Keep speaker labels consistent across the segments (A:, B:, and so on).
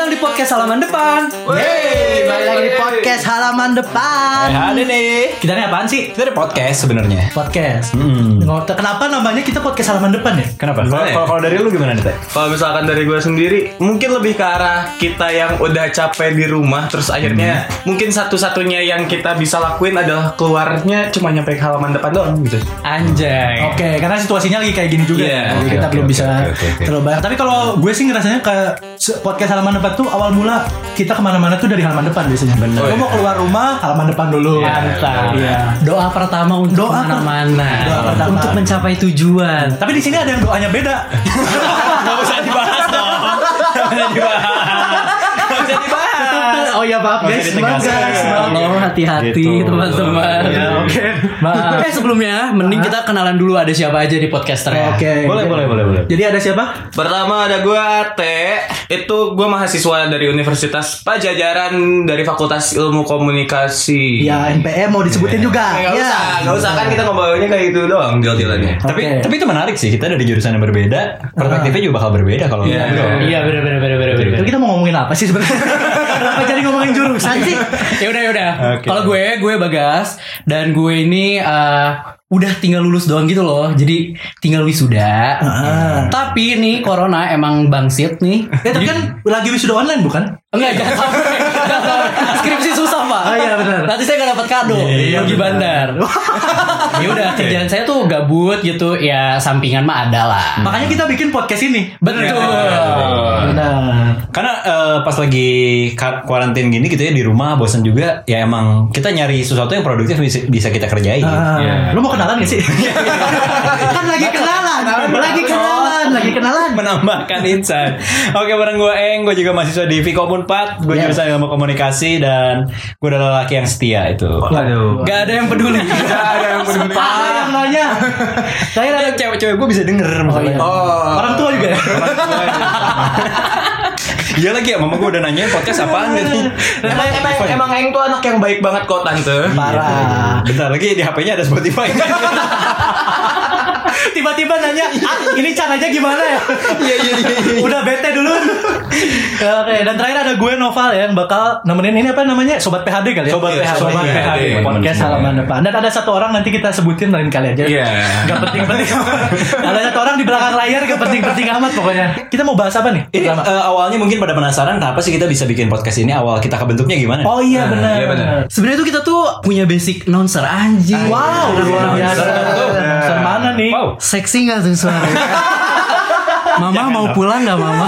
A: halaman depan.
B: Yeay, balik lagi di podcast halaman depan.
A: Eh, ada nih. Kita nih apaan sih? Kita ada podcast sebenarnya.
B: Podcast.
A: Hmm.
B: Ngote- Kenapa namanya kita podcast halaman depan ya?
A: Kenapa? Kalau kalau- kalau dari lu gimana nih? Teh?
C: Eh. Kalau misalkan dari gue sendiri, mungkin lebih ke arah kita yang udah capek di rumah, terus akhirnya mungkin satu-satunya yang kita bisa lakuin adalah keluarnya cuma nyampe ke halaman depan doang gitu.
A: Anjay.
B: Oke, karena situasinya lagi kayak gini juga.
C: Iya.
B: Jadi
A: Oke,
B: kita
A: oke,
B: belum
A: oke,
B: bisa
A: oke, oke, oke.
B: terlalu banyak. Tapi kalau gue sih ngerasanya ke se- podcast halaman depan tuh awal mula kita kemana-mana tuh dari halaman depan biasanya.
A: Bener.
B: Gue mau keluar rumah, halaman depan dulu.
D: Mantap.
B: Iya.
D: Doa pertama untuk
B: Doa per-
D: kemana-mana.
B: Doa pertama.
D: Untuk mencapai tujuan.
B: Tapi di sini ada yang doanya beda.
A: Gak usah dibahas dong. Gak usah dibahas. Gak usah dibahas.
D: oh ya maaf
A: Oke,
D: guys, maaf
A: ditegasin.
D: guys. Maaf. Tolong hati-hati
A: Gitu.
D: teman-teman.
A: Iya, oke.
D: Maaf. Eh Ya, sebelumnya, mending kita kenalan dulu ada siapa aja di podcaster ya.
A: Boleh, boleh, boleh, boleh.
B: Jadi ada siapa?
C: Pertama ada gue T, itu gue mahasiswa dari Universitas Pajajaran dari Fakultas Ilmu
D: Iya.
C: Komunikasi.
B: Ya NPM mau disebutin juga.
C: Nggak
B: Ya.
C: usah, nggak usah kan kita ngobrolnya kayak gitu doang jalan-jalannya.
A: Tapi
B: Oke.
A: tapi itu menarik sih. Kita dari jurusan yang berbeda, perspektifnya juga bakal berbeda kalau
C: Iya.
A: ngobrol.
D: Iya bener bener bener bener bener.
B: Tapi kita mau ngomongin apa sih sebenarnya? Kenapa jadi ngomongin jurusan sih?
D: ya udah ya udah.
A: Oke.
D: Kalau gue gue Bagas dan gue ini eh, udah tinggal lulus doang gitu loh. Jadi tinggal wisuda. Ah. Tapi nih corona emang bangsit nih.
B: Ya tapi kan lagi wisuda online bukan?
D: Enggak jangan sampai. Jangan sampai. Skripsi susah pak.
B: Oh, iya, benar.
D: Nanti saya nggak dapat kado
A: Iya, benar.
D: pergi bandar. ya udah kerjaan saya tuh gabut gitu ya sampingan mah ada lah. Iya.
B: Makanya kita bikin podcast ini.
D: Bener tuh.
B: Benar.
A: Karena eh, pas lagi ka- kuarantin gini gitu ya di rumah bosan juga ya emang kita nyari sesuatu yang produktif bisa, bisa kita kerjain.
B: Ah,
C: Iya.
B: Lu mau kenalan gak sih? kan lagi kenalan, lagi kenalan, lagi kenalan.
A: menambahkan insight. Oke, bareng gue Eng, gue juga mahasiswa di Vkom 4,
C: Iya.
A: gue
B: Yeah.
A: jurusan ilmu komunikasi dan gue adalah laki yang setia itu.
C: Waduh.
D: Gak ada yang peduli.
C: Gak ada yang peduli.
B: Ada yang nanya.
A: Saya ada cewek-cewek gue bisa denger masalahnya.
C: Oh.
B: iya. Orang tua juga. ya?
A: Iya lagi ya, mama gue udah nanya podcast apaan gitu.
C: Emang, emang, emang Eng tuh anak yang Kan baik banget kok tante.
B: Parah.
A: Iya, Bentar lagi di HP-nya ada Spotify.
B: Tiba-tiba nanya, ah, ini caranya gimana ya?
A: Iya iya iya.
B: Udah bete dulu. Ya, Oke, dan terakhir ada gue Noval ya, yang bakal nemenin ini apa namanya? Sobat PHD kali ya.
A: Sobat
B: Iya,
A: PHD.
B: Sobat
A: Iya,
B: PHD.
A: iya,
B: Podcast
A: iya.
B: halaman depan. Dan ada satu orang nanti kita sebutin lain kali aja.
C: Iya.
B: Gak penting-penting. ada satu orang di belakang layar gak penting-penting amat pokoknya. Kita mau bahas apa nih?
A: Ini
B: Pertama.
A: eh, awalnya mungkin pada penasaran kenapa sih kita bisa bikin podcast ini awal kita kebentuknya gimana?
B: Oh iya benar.
C: iya, benar.
D: Sebenarnya tuh kita tuh punya basic announcer anjing. Iya,
B: Wow, luar biasa.
A: Betul.
B: Announcer mana nih?
A: Iya, Wow.
D: Seksi gak tuh suaranya? Mama mau pulang gak mama?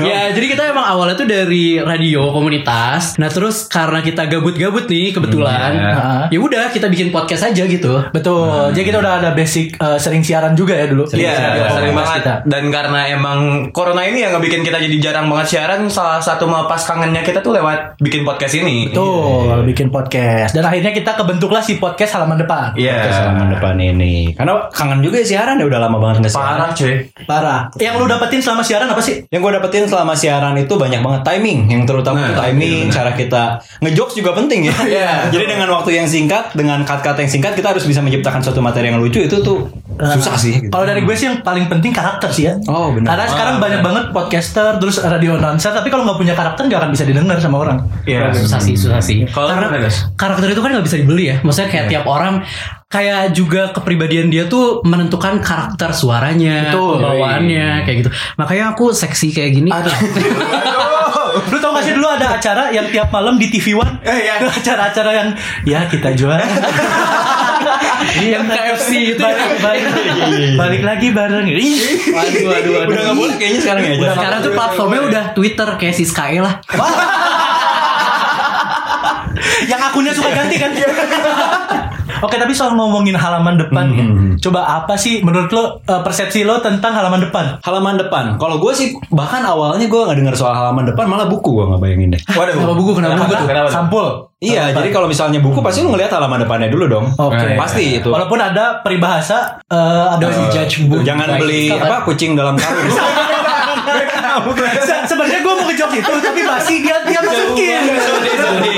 D: ya jadi kita emang awalnya tuh dari radio komunitas. Nah terus karena kita gabut-gabut nih kebetulan,
B: Hmm,
D: ya udah kita bikin podcast aja gitu.
B: Betul. Jadi kita udah ada basic eh, sering siaran juga ya dulu.
C: Iya,
B: siaran
C: sering
B: komunitas
C: banget.
B: kita.
C: Dan karena emang corona ini yang ngebikin kita jadi jarang banget siaran, salah satu melepas kangennya kita tuh lewat bikin podcast ini.
B: Betul, bikin podcast. Dan akhirnya kita kebentuklah si podcast halaman depan.
C: Iya.
A: Podcast halaman depan ini. Karena kangen juga ya siaran ya udah lama banget nggak siaran.
C: Parah cuy.
B: Parah. Nah, Yang lu dapetin selama siaran apa sih?
A: Yang gue dapetin selama siaran itu banyak banget timing, yang terutama
C: Nah,
A: itu timing, cara kita ngejokes juga penting ya.
C: Iya.
A: Jadi dengan waktu yang singkat, dengan cut-cut yang singkat, kita harus bisa menciptakan suatu materi yang lucu itu tuh
D: Nah.
A: susah sih. Gitu.
B: Eh, Kalau dari gue sih yang paling penting karakter sih ya.
A: Oh, benar.
B: Karena sekarang banyak banget podcaster terus radio announcer tapi kalau nggak punya karakter nggak akan bisa didengar sama orang.
C: Iya.
D: Susah sih, susah sih.
C: Kalau
D: Karena
C: gimana, Gas?
D: karakter itu kan nggak bisa dibeli ya. Maksudnya kayak tiap orang kayak juga kepribadian dia tuh menentukan karakter suaranya,
B: Betul.
D: bawaannya kayak gitu. Makanya aku seksi kayak gini.
B: Lu tau gak sih dulu ada acara yang tiap malam di TV One?
C: Eh, iya.
B: Acara-acara yang ya kita jual.
D: Yang KFC itu ya.
B: balik, balik, balik lagi bareng. Ih,
D: Waduh, waduh, waduh.
A: udah nggak boleh kayaknya sekarang ya. Jas.
D: Sekarang tuh platformnya udah Twitter kayak Siskae lah.
B: yang akunnya suka ganti kan? Oke, tapi soal ngomongin halaman depan, ya. coba apa sih menurut lo eh, persepsi lo tentang halaman depan?
A: Halaman depan. Kalau gue sih bahkan awalnya gue nggak dengar soal halaman depan, malah buku gue nggak bayangin deh.
C: Waduh.
D: Kenapa buku, kenapa buku tuh?
C: Kenapa tuh?
B: Sampul.
A: Iya, jadi kalau misalnya buku pasti lu ngelihat halaman depannya dulu dong.
B: Oke.
A: Pasti itu.
B: Walaupun ada peribahasa, eh, ada judge book.
A: Jangan beli apa kucing dalam karung.
B: Se- Sebenarnya gue mau ke jokes itu, tapi masih dia dia masukin.
C: Sorry, sorry.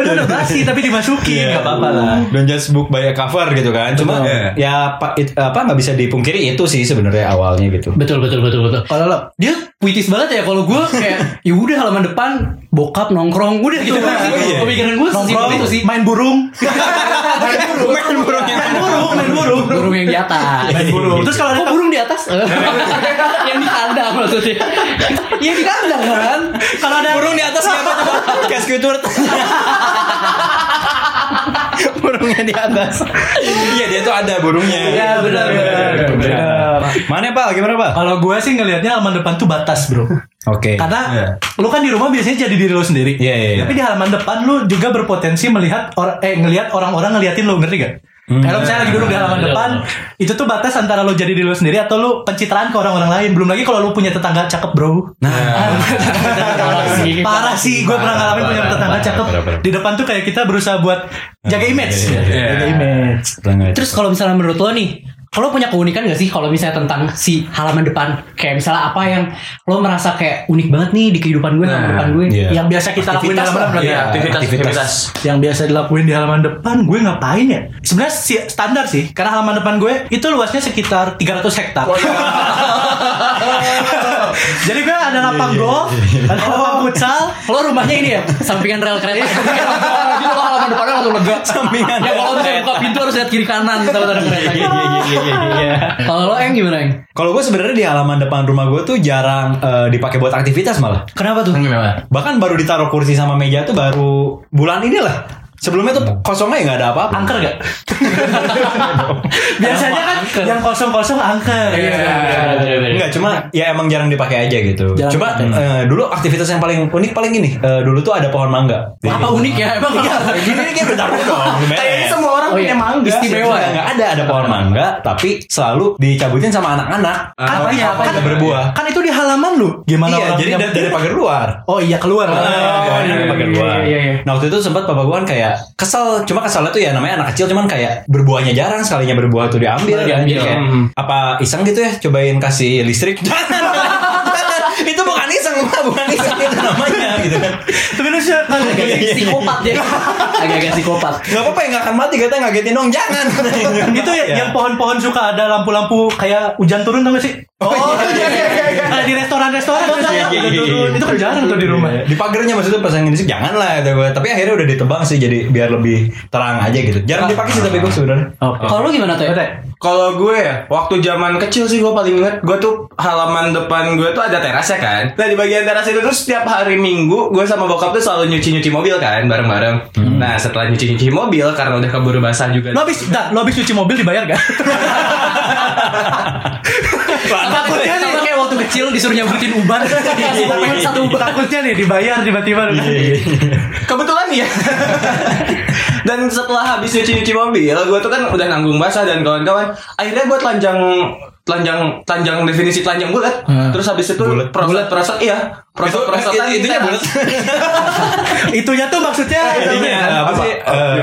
B: Udah, udah, bahas dikasih tapi dimasukin nggak apa-apa lah.
A: Don't just book by a cover gitu kan. Cuma
C: Betul.
A: ya pa- it- apa nggak bisa dipungkiri itu sih sebenarnya awalnya gitu.
D: Betul betul betul betul.
B: Kalau lo
D: Dia puitis banget ya kalau gue kayak ya udah halaman depan bokap nongkrong udah gitu kan sih.
A: iya.
D: Pemikiran gue
B: nongkrong
D: sesimpel itu sih.
B: main burung,
A: Main burung yang
B: main burung, main burung.
D: Burung yang di atas.
B: Main burung. Terus kalau ada
D: Kok burung di atas? yang di kandang maksudnya. yang di kandang kan.
B: kalau ada
A: Burung di atas siapa coba? Kayak Squidward. Burungnya di atas. Iya dia tuh ada burungnya.
D: Iya, benar, benar.
A: Benar. Mana pak? Gimana pak?
B: kalau gue sih ngelihatnya halaman depan tuh batas bro.
A: Oke.
B: Karena
D: Iya.
B: lu kan di rumah biasanya jadi diri lu sendiri.
A: Iya, iya, iya.
B: Tapi di halaman depan lu juga berpotensi melihat or eh ngelihat orang-orang ngeliatin lu, ngerti gak?
A: Hmm.
B: Kalau misalnya lagi duduk di halaman
D: Iya.
B: depan, itu tuh batas antara lu jadi diri lu sendiri atau lu pencitraan ke orang-orang lain. Belum lagi kalau lu punya tetangga cakep, Bro. Nah,
D: Iya. Parah sih.
B: parah sih, gue pernah ngalamin punya
D: parah,
B: tetangga
D: parah,
B: cakep.
A: parah, parah.
B: Di depan tuh kayak kita berusaha buat jaga image.
A: Iya, iya, iya.
B: Jaga image.
D: Terus kalau misalnya menurut lo nih, lo punya keunikan gak sih kalau misalnya tentang si halaman depan? Kayak misalnya apa yang lo merasa kayak unik banget nih di kehidupan gue, halaman
C: Nah,
D: depan gue.
A: iya.
B: Yang biasa kita lakuin di
A: Aktivitas
B: halaman
A: lah,
B: depan berarti
A: iya.
B: ya.
C: aktivitas,
A: aktivitas.
C: aktivitas.
B: yang biasa dilakuin di halaman depan gue ngapain ya? Sebenarnya si- standar sih, karena halaman depan gue itu luasnya sekitar 300 hektar. Jadi gue ada lapang golf, ada lapang futsal,
D: Lo rumahnya ini ya, sampingan rel kereta. Jadi lo halaman depannya langsung lega.
A: Iya. Sampingan
D: Ya
A: rel
D: kalau misalnya buka pintu harus lihat kiri kanan kalau ada kereta. gitu.
A: iya iya iya.
D: Kalau lo Eng gimana Eng?
A: Kalau gue sebenarnya di halaman depan rumah gue tuh jarang eh, dipakai buat aktivitas malah.
D: Kenapa tuh?
A: Hmm. Bahkan baru ditaruh kursi sama meja tuh baru bulan ini lah. Sebelumnya tuh kosongnya ya nggak ada apa-apa.
B: angker gak? Biasanya kan
D: Angker.
B: yang kosong-kosong angker.
A: Enggak, cuma ya emang jarang dipakai aja gitu.
B: Jarang
A: cuma eh, dulu aktivitas yang paling unik paling ini eh, dulu tuh ada pohon mangga.
D: Apa unik ya? Emang
A: Iya. Gini ini kayak bentar dulu dong.
C: Kayaknya semua orang
D: Oh, iya.
C: punya mangga.
D: Istimewa.
A: Nggak ada ada pohon mangga tapi selalu dicabutin sama anak-anak.
B: Kan,
A: Apa-
B: iya,
A: apa
B: kan-
A: yang berbuah?
B: Kan itu di halaman lu. Gimana
A: Iya,
B: orang
A: jadi
B: yang-
A: da- dari pagar luar.
B: Oh iya keluar.
A: Oh,
D: iya,
A: dari
D: iya,
A: pagar
D: iya,
A: luar.
D: iya, iya.
A: Nah waktu itu sempat bapak gue kan kayak kesel, cuma kesalnya tuh ya namanya anak kecil cuman kayak berbuahnya jarang sekalinya berbuah tuh diambil.
D: Diambil,
A: kan. Jadi kayak,
D: hmm.
A: apa iseng gitu ya cobain kasih listrik. Jangan, jangan. itu bukan iseng, Pak. bukan iseng itu namanya gitu kan.
B: Tapi lu sih kan
D: agak-agak psikopat dia. Agak-agak psikopat.
A: Gak apa-apa ya gak akan mati katanya ngagetin dong jangan.
B: itu
A: Iya.
B: ya, yang pohon-pohon suka ada lampu-lampu kayak hujan turun tau gak sih? Oh, iya, iya, iya, iya. Ada di restoran-restoran tuh
A: iya, iya,
B: hujan
A: iya.
B: turun. Itu kan jarang tuh di rumah.
A: Di pagarnya maksudnya pasangin listrik jangan lah kata gue. Tapi akhirnya udah ditebang sih jadi biar lebih terang aja gitu. Jarang dipakai sih tapi gue sebenarnya.
B: Oh,
D: Kalau lo gimana tuh?
B: Oke.
C: Kalau gue ya, waktu zaman kecil sih gue paling inget Gue tuh halaman depan gue tuh ada terasnya kan Nah di bagian teras itu terus setiap hari minggu Gue sama bokap tuh selalu nyuci-nyuci mobil kan bareng-bareng
A: Hmm.
C: Nah setelah nyuci-nyuci mobil karena udah keburu basah juga
A: ya?
B: Lo habis, dah, lo habis cuci mobil dibayar gak?
D: Takutnya nih kayak waktu kecil disuruh nyabutin uban.
B: Iya,
A: Iya.
D: Pengen satu uban.
B: Takutnya nih dibayar tiba-tiba.
C: Kebetulan ya Dan setelah habis nyuci-nyuci mobil Gue tuh kan udah nanggung basah dan kawan-kawan Akhirnya gue telanjang telanjang telanjang definisi telanjang bulat terus habis itu
A: Hmm. Bulat.
C: prosot prosot iya prosot prosotan
A: Itu- itunya bulat.
B: Itunya tuh maksudnya
A: Jadinya
B: iya.
A: apa sih? eh,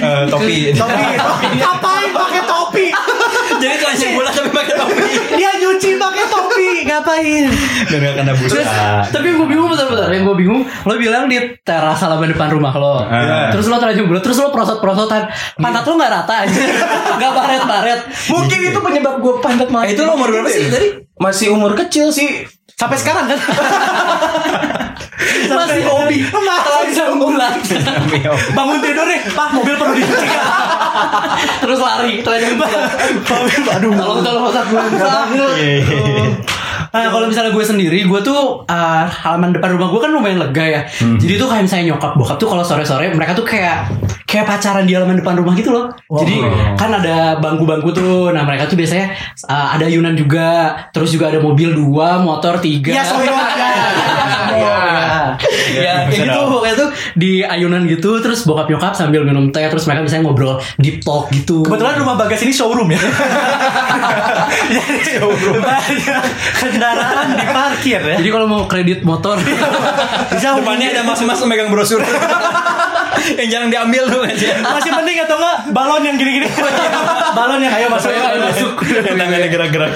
A: eh, topi.
B: Topi, topi. Ngapain pakai topi?
A: Jadi telanjang bulat tapi pakai topi.
B: Dia nyuci pakai topi,
A: Iya.
B: ngapain?
A: Dan gak kena busa.
D: Terus, tapi gue bingung bentar-bentar. Yang gue bingung, lo bilang di teras halaman depan rumah
C: Ah.
D: lo.
A: Iya.
D: Terus lo terlanjur bulat, terus lo prosot-prosotan. Pantat lo gak rata aja. gak baret-baret.
C: mungkin itu penyebab gue pantat malah
A: Eh, itu lo umur berapa sih tadi?
C: masih umur kecil sih
B: Sampai sekarang kan?
D: Masih hobi.
B: Masih
D: Telanjang bulat.
B: bangun tidur nih, Pak, mobil perlu dicuci.
D: terus lari. Telanjang bulat.
B: Mobil, aduh.
D: Tolong tolong otak gue
A: Iya, iya, iya.
D: Nah, kalau misalnya gue sendiri, gue tuh uh, halaman depan rumah gue kan lumayan lega ya.
A: Hmm.
D: Jadi tuh kayak misalnya nyokap bokap tuh kalau sore-sore mereka tuh kayak kayak pacaran di halaman depan rumah gitu loh.
A: Oh.
D: Jadi kan ada bangku-bangku tuh. Nah, mereka tuh biasanya uh, ada ayunan juga, terus juga ada mobil dua, motor tiga.
B: Ya, sorry banget.
D: Iya. Ya, kayak
A: Bisa
D: gitu
A: dong.
D: pokoknya tuh di ayunan gitu terus bokap nyokap sambil minum teh terus mereka misalnya ngobrol deep talk gitu.
B: Kebetulan rumah Bagas ini showroom ya. Jadi banyak kendaraan di parkir ya.
D: Jadi kalau mau kredit motor
B: Bisa
A: Depannya ada mas-mas megang brosur. yang jarang diambil tuh ya. aja.
B: Masih penting atau enggak balon yang gini-gini. balon yang ayo masuk.
D: Ayo masuk.
A: Yang tangannya gerak-gerak.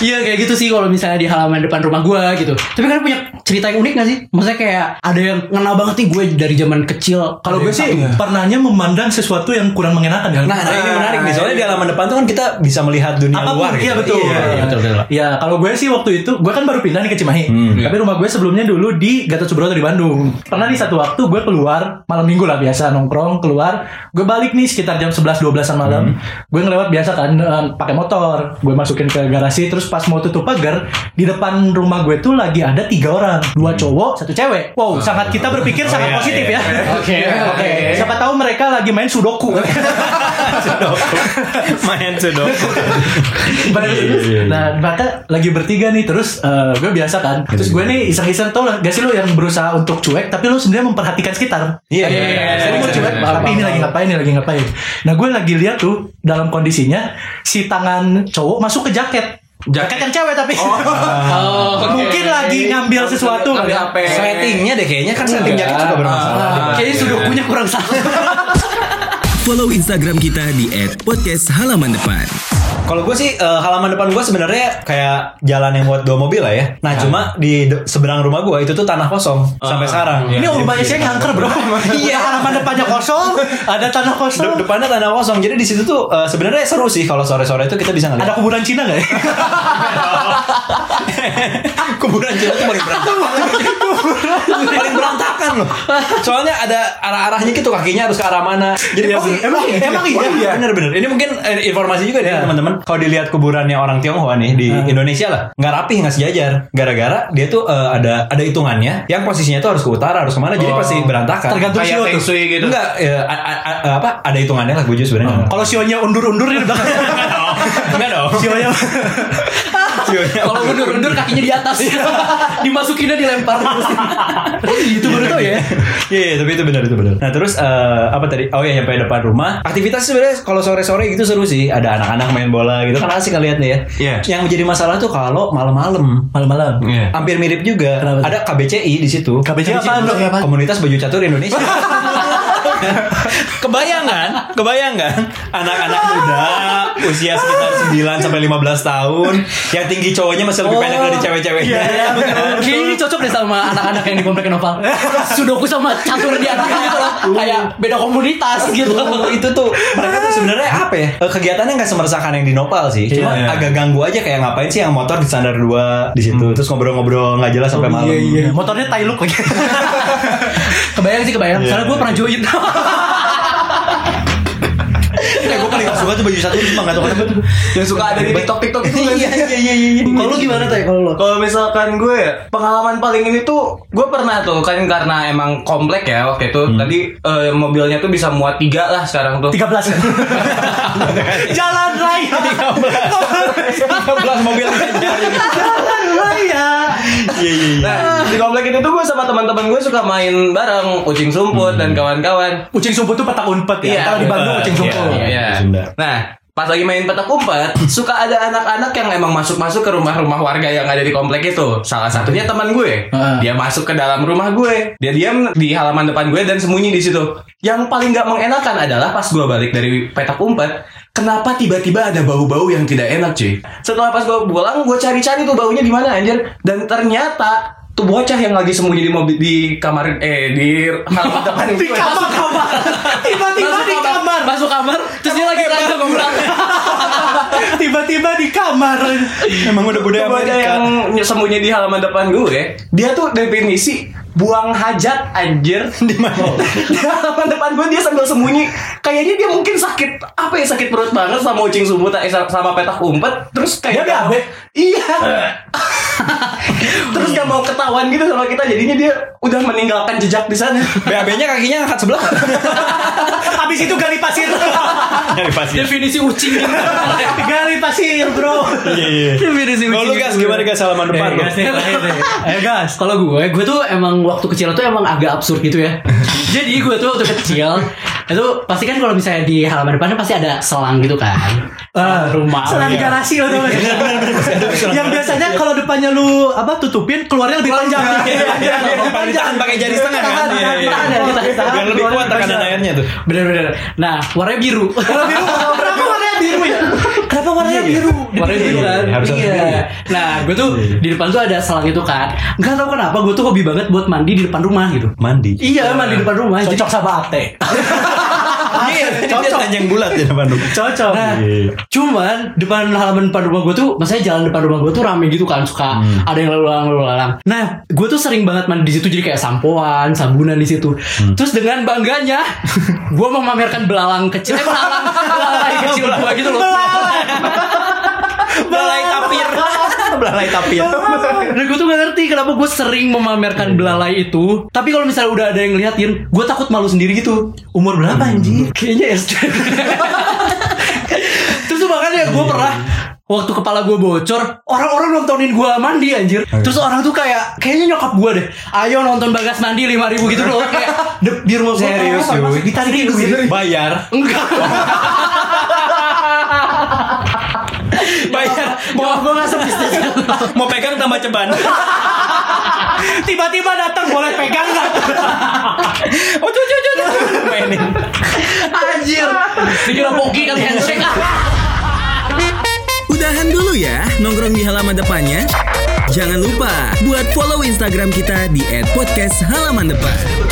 D: Iya kayak gitu sih kalau misalnya di halaman depan rumah gue gitu. Tapi kan punya cerita yang unik gak sih? Maksudnya kayak ada yang ngena banget nih gue dari zaman kecil.
B: Kalau gue sih iya.
D: Iya.
B: pernahnya memandang sesuatu yang kurang mengenakan kan.
A: Nah, nah, ini menarik nih. Soalnya di halaman depan tuh kan kita bisa melihat dunia
B: Apapun,
A: luar.
B: iya
A: gitu.
B: betul.
A: Iya, iya, betul, Hmm. betul.
B: Iya, kalau gue sih waktu itu, gue kan baru pindah nih ke Cimahi. Tapi rumah gue sebelumnya dulu di Gatot Subroto di Bandung. Pernah di satu waktu gue keluar malam minggu lah biasa nongkrong keluar. Gue balik nih sekitar jam 11 12-an malam.
A: Hmm.
B: Gue ngelewat biasa kan eh, pakai motor. Gue masukin ke garasi terus pas mau tutup pagar, di depan rumah gue tuh lagi ada tiga orang, dua cowok, satu cewek. Wow, sangat kita berpikir sangat
A: Hmm. iya,
B: positif
A: iya,
B: ya.
D: Oke, oke.
B: Siapa tahu mereka lagi main sudoku.
A: Main sudah.
B: nah maka lagi bertiga nih terus eh, gue biasa kan terus gue nih iseng-iseng tau lah gak sih lo yang berusaha untuk cuek tapi lo sebenarnya memperhatikan sekitar
A: Iya, iya,
B: Jadi
A: iya.
B: gue
A: Iya,
B: cuek
A: iya,
B: tapi
D: iya.
B: ini lagi ngapain ini lagi ngapain nah gue lagi lihat tuh dalam kondisinya si tangan cowok masuk ke jaket jaket yang cewek tapi
D: Oh, oke.
B: mungkin lagi ngambil sesuatu kali
C: Ngambil
B: ya.
C: HP.
A: Settingnya deh kayaknya kan setting
D: Enggak.
A: jaket suka bermasalah.
D: Ah, Kayaknya sudokunya kurang salah.
E: Follow Instagram kita di @podcasthalamandepan.
A: Kalau gue sih eh, halaman depan gue sebenarnya kayak jalan yang buat dua mobil lah ya. Nah cuma di de- seberang rumah gue itu tuh tanah kosong sampai sekarang.
B: ini
A: iya.
B: rumahnya sih kanker bro iya halaman depannya kosong ada tanah
A: De-
B: kosong
A: depannya tanah kosong. Jadi di situ tuh eh, sebenarnya seru sih kalau sore-sore itu kita bisa ngeliat.
B: ada kuburan Cina gak ya?
A: Ah, kuburan Cina tuh paling berantakan. paling berantakan loh. Soalnya ada arah-arahnya gitu kakinya harus ke arah mana. Jadi oh,
B: Iya
A: pasti-
B: sih. Emang iya? Emang iya?
A: Oh, Bener-bener. Ini mungkin eh, informasi juga deh teman-teman. Kalau dilihat kuburannya orang Tionghoa nih di Indonesia lah, nggak rapih nggak sejajar. Gara-gara dia tuh eh, ada ada hitungannya yang posisinya tuh harus ke utara harus kemana. Jadi pasti berantakan.
B: Oh. Tergantung
C: Kayak
B: sio
C: feng
B: tuh.
C: shui gitu.
A: Enggak, ya, a- a- a- apa ada hitungannya lah gue juga sebenarnya.
B: Kalau sionya undur-undur di belakang.
A: Enggak dong.
B: sionya
A: Sionya-
D: Kalau mundur-mundur kakinya di atas.
B: Iya.
D: Dimasukinnya dilempar. oh, gitu baru tau ya.
A: Iya, iya, tapi itu benar itu benar. Nah terus eh, apa tadi? Oh ya nyampe depan rumah. Aktivitas sebenarnya kalau sore-sore gitu seru sih. Ada anak-anak main bola gitu kan asik ngeliatnya ya.
C: Iya.
A: Yang menjadi masalah tuh kalau malam-malam.
B: malam-malam.
C: Iya.
A: Hampir mirip juga.
B: Kenapa tuh?
A: Ada KBCI di situ.
B: KBCI apaan, Dok?
A: Komunitas Baju Catur Indonesia. kebayangan, kebayangan anak-anak muda usia sekitar 9 sampai 15 tahun yang tinggi cowoknya masih lebih pendek
B: Oh.
A: dari cewek-ceweknya.
B: Iya,
D: Kayaknya ini cocok deh sama anak-anak yang di komplek novel. Sudoku sama catur di atas gitu loh. Kayak beda komunitas gitu.
A: Tuh, itu tuh mereka tuh sebenarnya apa ya Eh, kegiatannya nggak semeresahkan yang di Nopal sih cuma
C: Iya. Hmm.
A: agak ganggu aja kayak ngapain sih yang motor di standar dua di situ terus ngobrol-ngobrol nggak jelas
C: Oh,
A: sampai
C: iya,
A: malam
B: Motornya tai look lagi.
D: Kebayang sih
A: Iya,
D: kebayang. Soalnya gue pernah join.
A: Eh, gue paling gak suka tuh baju satu cuma nggak tahu kenapa tuh
C: Yang suka ada di TikTok-TikTok itu kan?
A: iya iya iya iya
D: Kalau lu gimana tuh kalau lu?
C: Kalau misalkan gue ya, pengalaman paling ini tuh gue pernah tuh kan karena emang komplek ya waktu itu. Tadi eh, mobilnya tuh bisa muat tiga lah sekarang tuh.
B: 13 ya. Jalan raya.
A: 13 mobil
B: Jalan raya.
A: iya iya iya
C: Nah, di komplek itu tuh gue sama teman-teman gue suka main bareng kucing sumput
A: Hmm.
C: dan kawan-kawan.
B: Ucing sumput tuh petak unpet ya.
C: Iya,
B: Kalau di Bandung
A: iya,
B: ucing sumput.
A: iya, iya.
C: Iya.
A: Sunda.
C: Nah, pas lagi main petak umpet, suka ada anak-anak yang emang masuk-masuk ke rumah-rumah warga yang ada di komplek itu. Salah satunya teman gue.
B: Iya. Heeh.
C: Dia masuk ke dalam rumah gue. Dia diam di halaman depan gue dan sembunyi di situ. Yang paling gak mengenakan adalah pas gue balik dari petak umpet, kenapa tiba-tiba ada bau-bau yang tidak enak, cuy? Setelah pas gue pulang, gue cari-cari tuh baunya di mana anjir. Dan ternyata tuh bocah yang lagi sembunyi di mobil di kamar eh di halaman depan
B: Di
C: gue.
B: kamar-kamar. Tiba-tiba
D: Masuk
B: di kamar.
D: Masuk kamar. Terus dia lagi terakhir ngobrol.
B: Tiba-tiba di kamar.
A: emang udah budaya
C: Coba ada
A: Amerika
C: yang sembunyi di halaman depan gue. Dia tuh definisi buang hajat anjir di mana? di halaman depan gue dia sambil sembunyi. Kayaknya dia mungkin sakit apa ya sakit perut banget sama ucing subuh eh, sama petak umpet terus kayak
B: Dia BAB.
C: Iya. terus gak mau ketahuan gitu sama kita jadinya dia udah meninggalkan jejak di sana.
A: BAB-nya kakinya angkat sebelah
B: Kan Habis itu gali pasir.
A: dari
C: Iya.
A: pasir
D: Definisi ucing gitu.
B: gali pasir, Bro.
A: iya iya
D: Definisi ucing.
A: Kalau lu gas gimana gas halaman depan lu?
B: Iya, Ayo gas.
D: Kalau gue, gue tuh emang waktu kecil tuh emang agak absurd gitu ya. Jadi gue tuh waktu kecil itu pasti kan kalau misalnya di halaman depannya pasti ada selang gitu kan.
B: Ah,
D: rumah.
B: Selang
D: Iya.
B: garasi lo tau gak sih? Yang biasanya kalau depannya lu apa tutupin keluarnya lebih panjang. Iya, iya, iya.
A: Tahan pakai jari setengah kan?
B: Tahan,
A: Iya,
B: tahan,
A: iya.
B: tahan, tahan,
D: Tahan, tahan.
B: tahan.
A: Biar lebih kuat
B: Keluarnya
A: tekanan
B: panjang.
A: airnya tuh.
D: Bener-bener. Nah, warnanya biru.
B: Kalau biru, kenapa warnanya biru ya? Kenapa iya. warnanya biru?
D: Iya, warnanya biru
A: Iya,
D: kan
A: iya, harus
D: iya.
A: harus biru ya.
D: nah gue tuh di depan tuh ada selang itu kan nggak tahu kenapa gue tuh hobi banget buat mandi di depan rumah gitu
A: Mandi.
D: iya mandi di depan rumah
C: Ah,
D: Jadi-
B: Cocok sama Ate.
A: Iya, cocok. Yang bulat di depan lu.
B: Cocok.
D: Nah,
A: Iya.
D: cuman depan halaman depan rumah gue tuh, maksudnya jalan depan rumah gue tuh rame gitu kan, suka
A: Hmm.
D: ada yang lalu lalang lalu lalang. Nah, gue tuh sering banget mandi di situ, jadi kayak sampoan, sabunan di situ.
A: Hmm.
D: Terus dengan bangganya, gue memamerkan belalang kecil, eh, belalang, belalai kecil gue gitu loh.
A: Belalai tapir. Belalai tapir.
D: Dan gue tuh gak ngerti kenapa gue sering memamerkan belalai itu. Tapi kalau misalnya udah ada yang ngeliatin, gue takut malu sendiri gitu.
B: Umur berapa anjing?
D: Kayaknya SD. Terus tuh makanya gue pernah waktu kepala gue bocor, orang-orang nontonin gue mandi anjir. Terus orang tuh kayak kayaknya nyokap gue deh. Ayo nonton Bagas mandi 5000 gitu loh kayak de- di rumah gue.
A: Serius,
D: Apa-apa,
A: cuy.
D: Ditarikin duit.
A: Bayar.
D: Enggak.
A: Bayar.
D: Nyokap gue gak sebisnis
A: Mau pegang tambah ceban.
D: Tiba-tiba datang boleh pegang gak?
A: Oh, cucu cucu. Mainin.
D: Anjir. Dikira poki kali handshake.
E: Udahan dulu ya nongkrong di halaman depannya. Jangan lupa buat follow Instagram kita di @podcast halaman depan.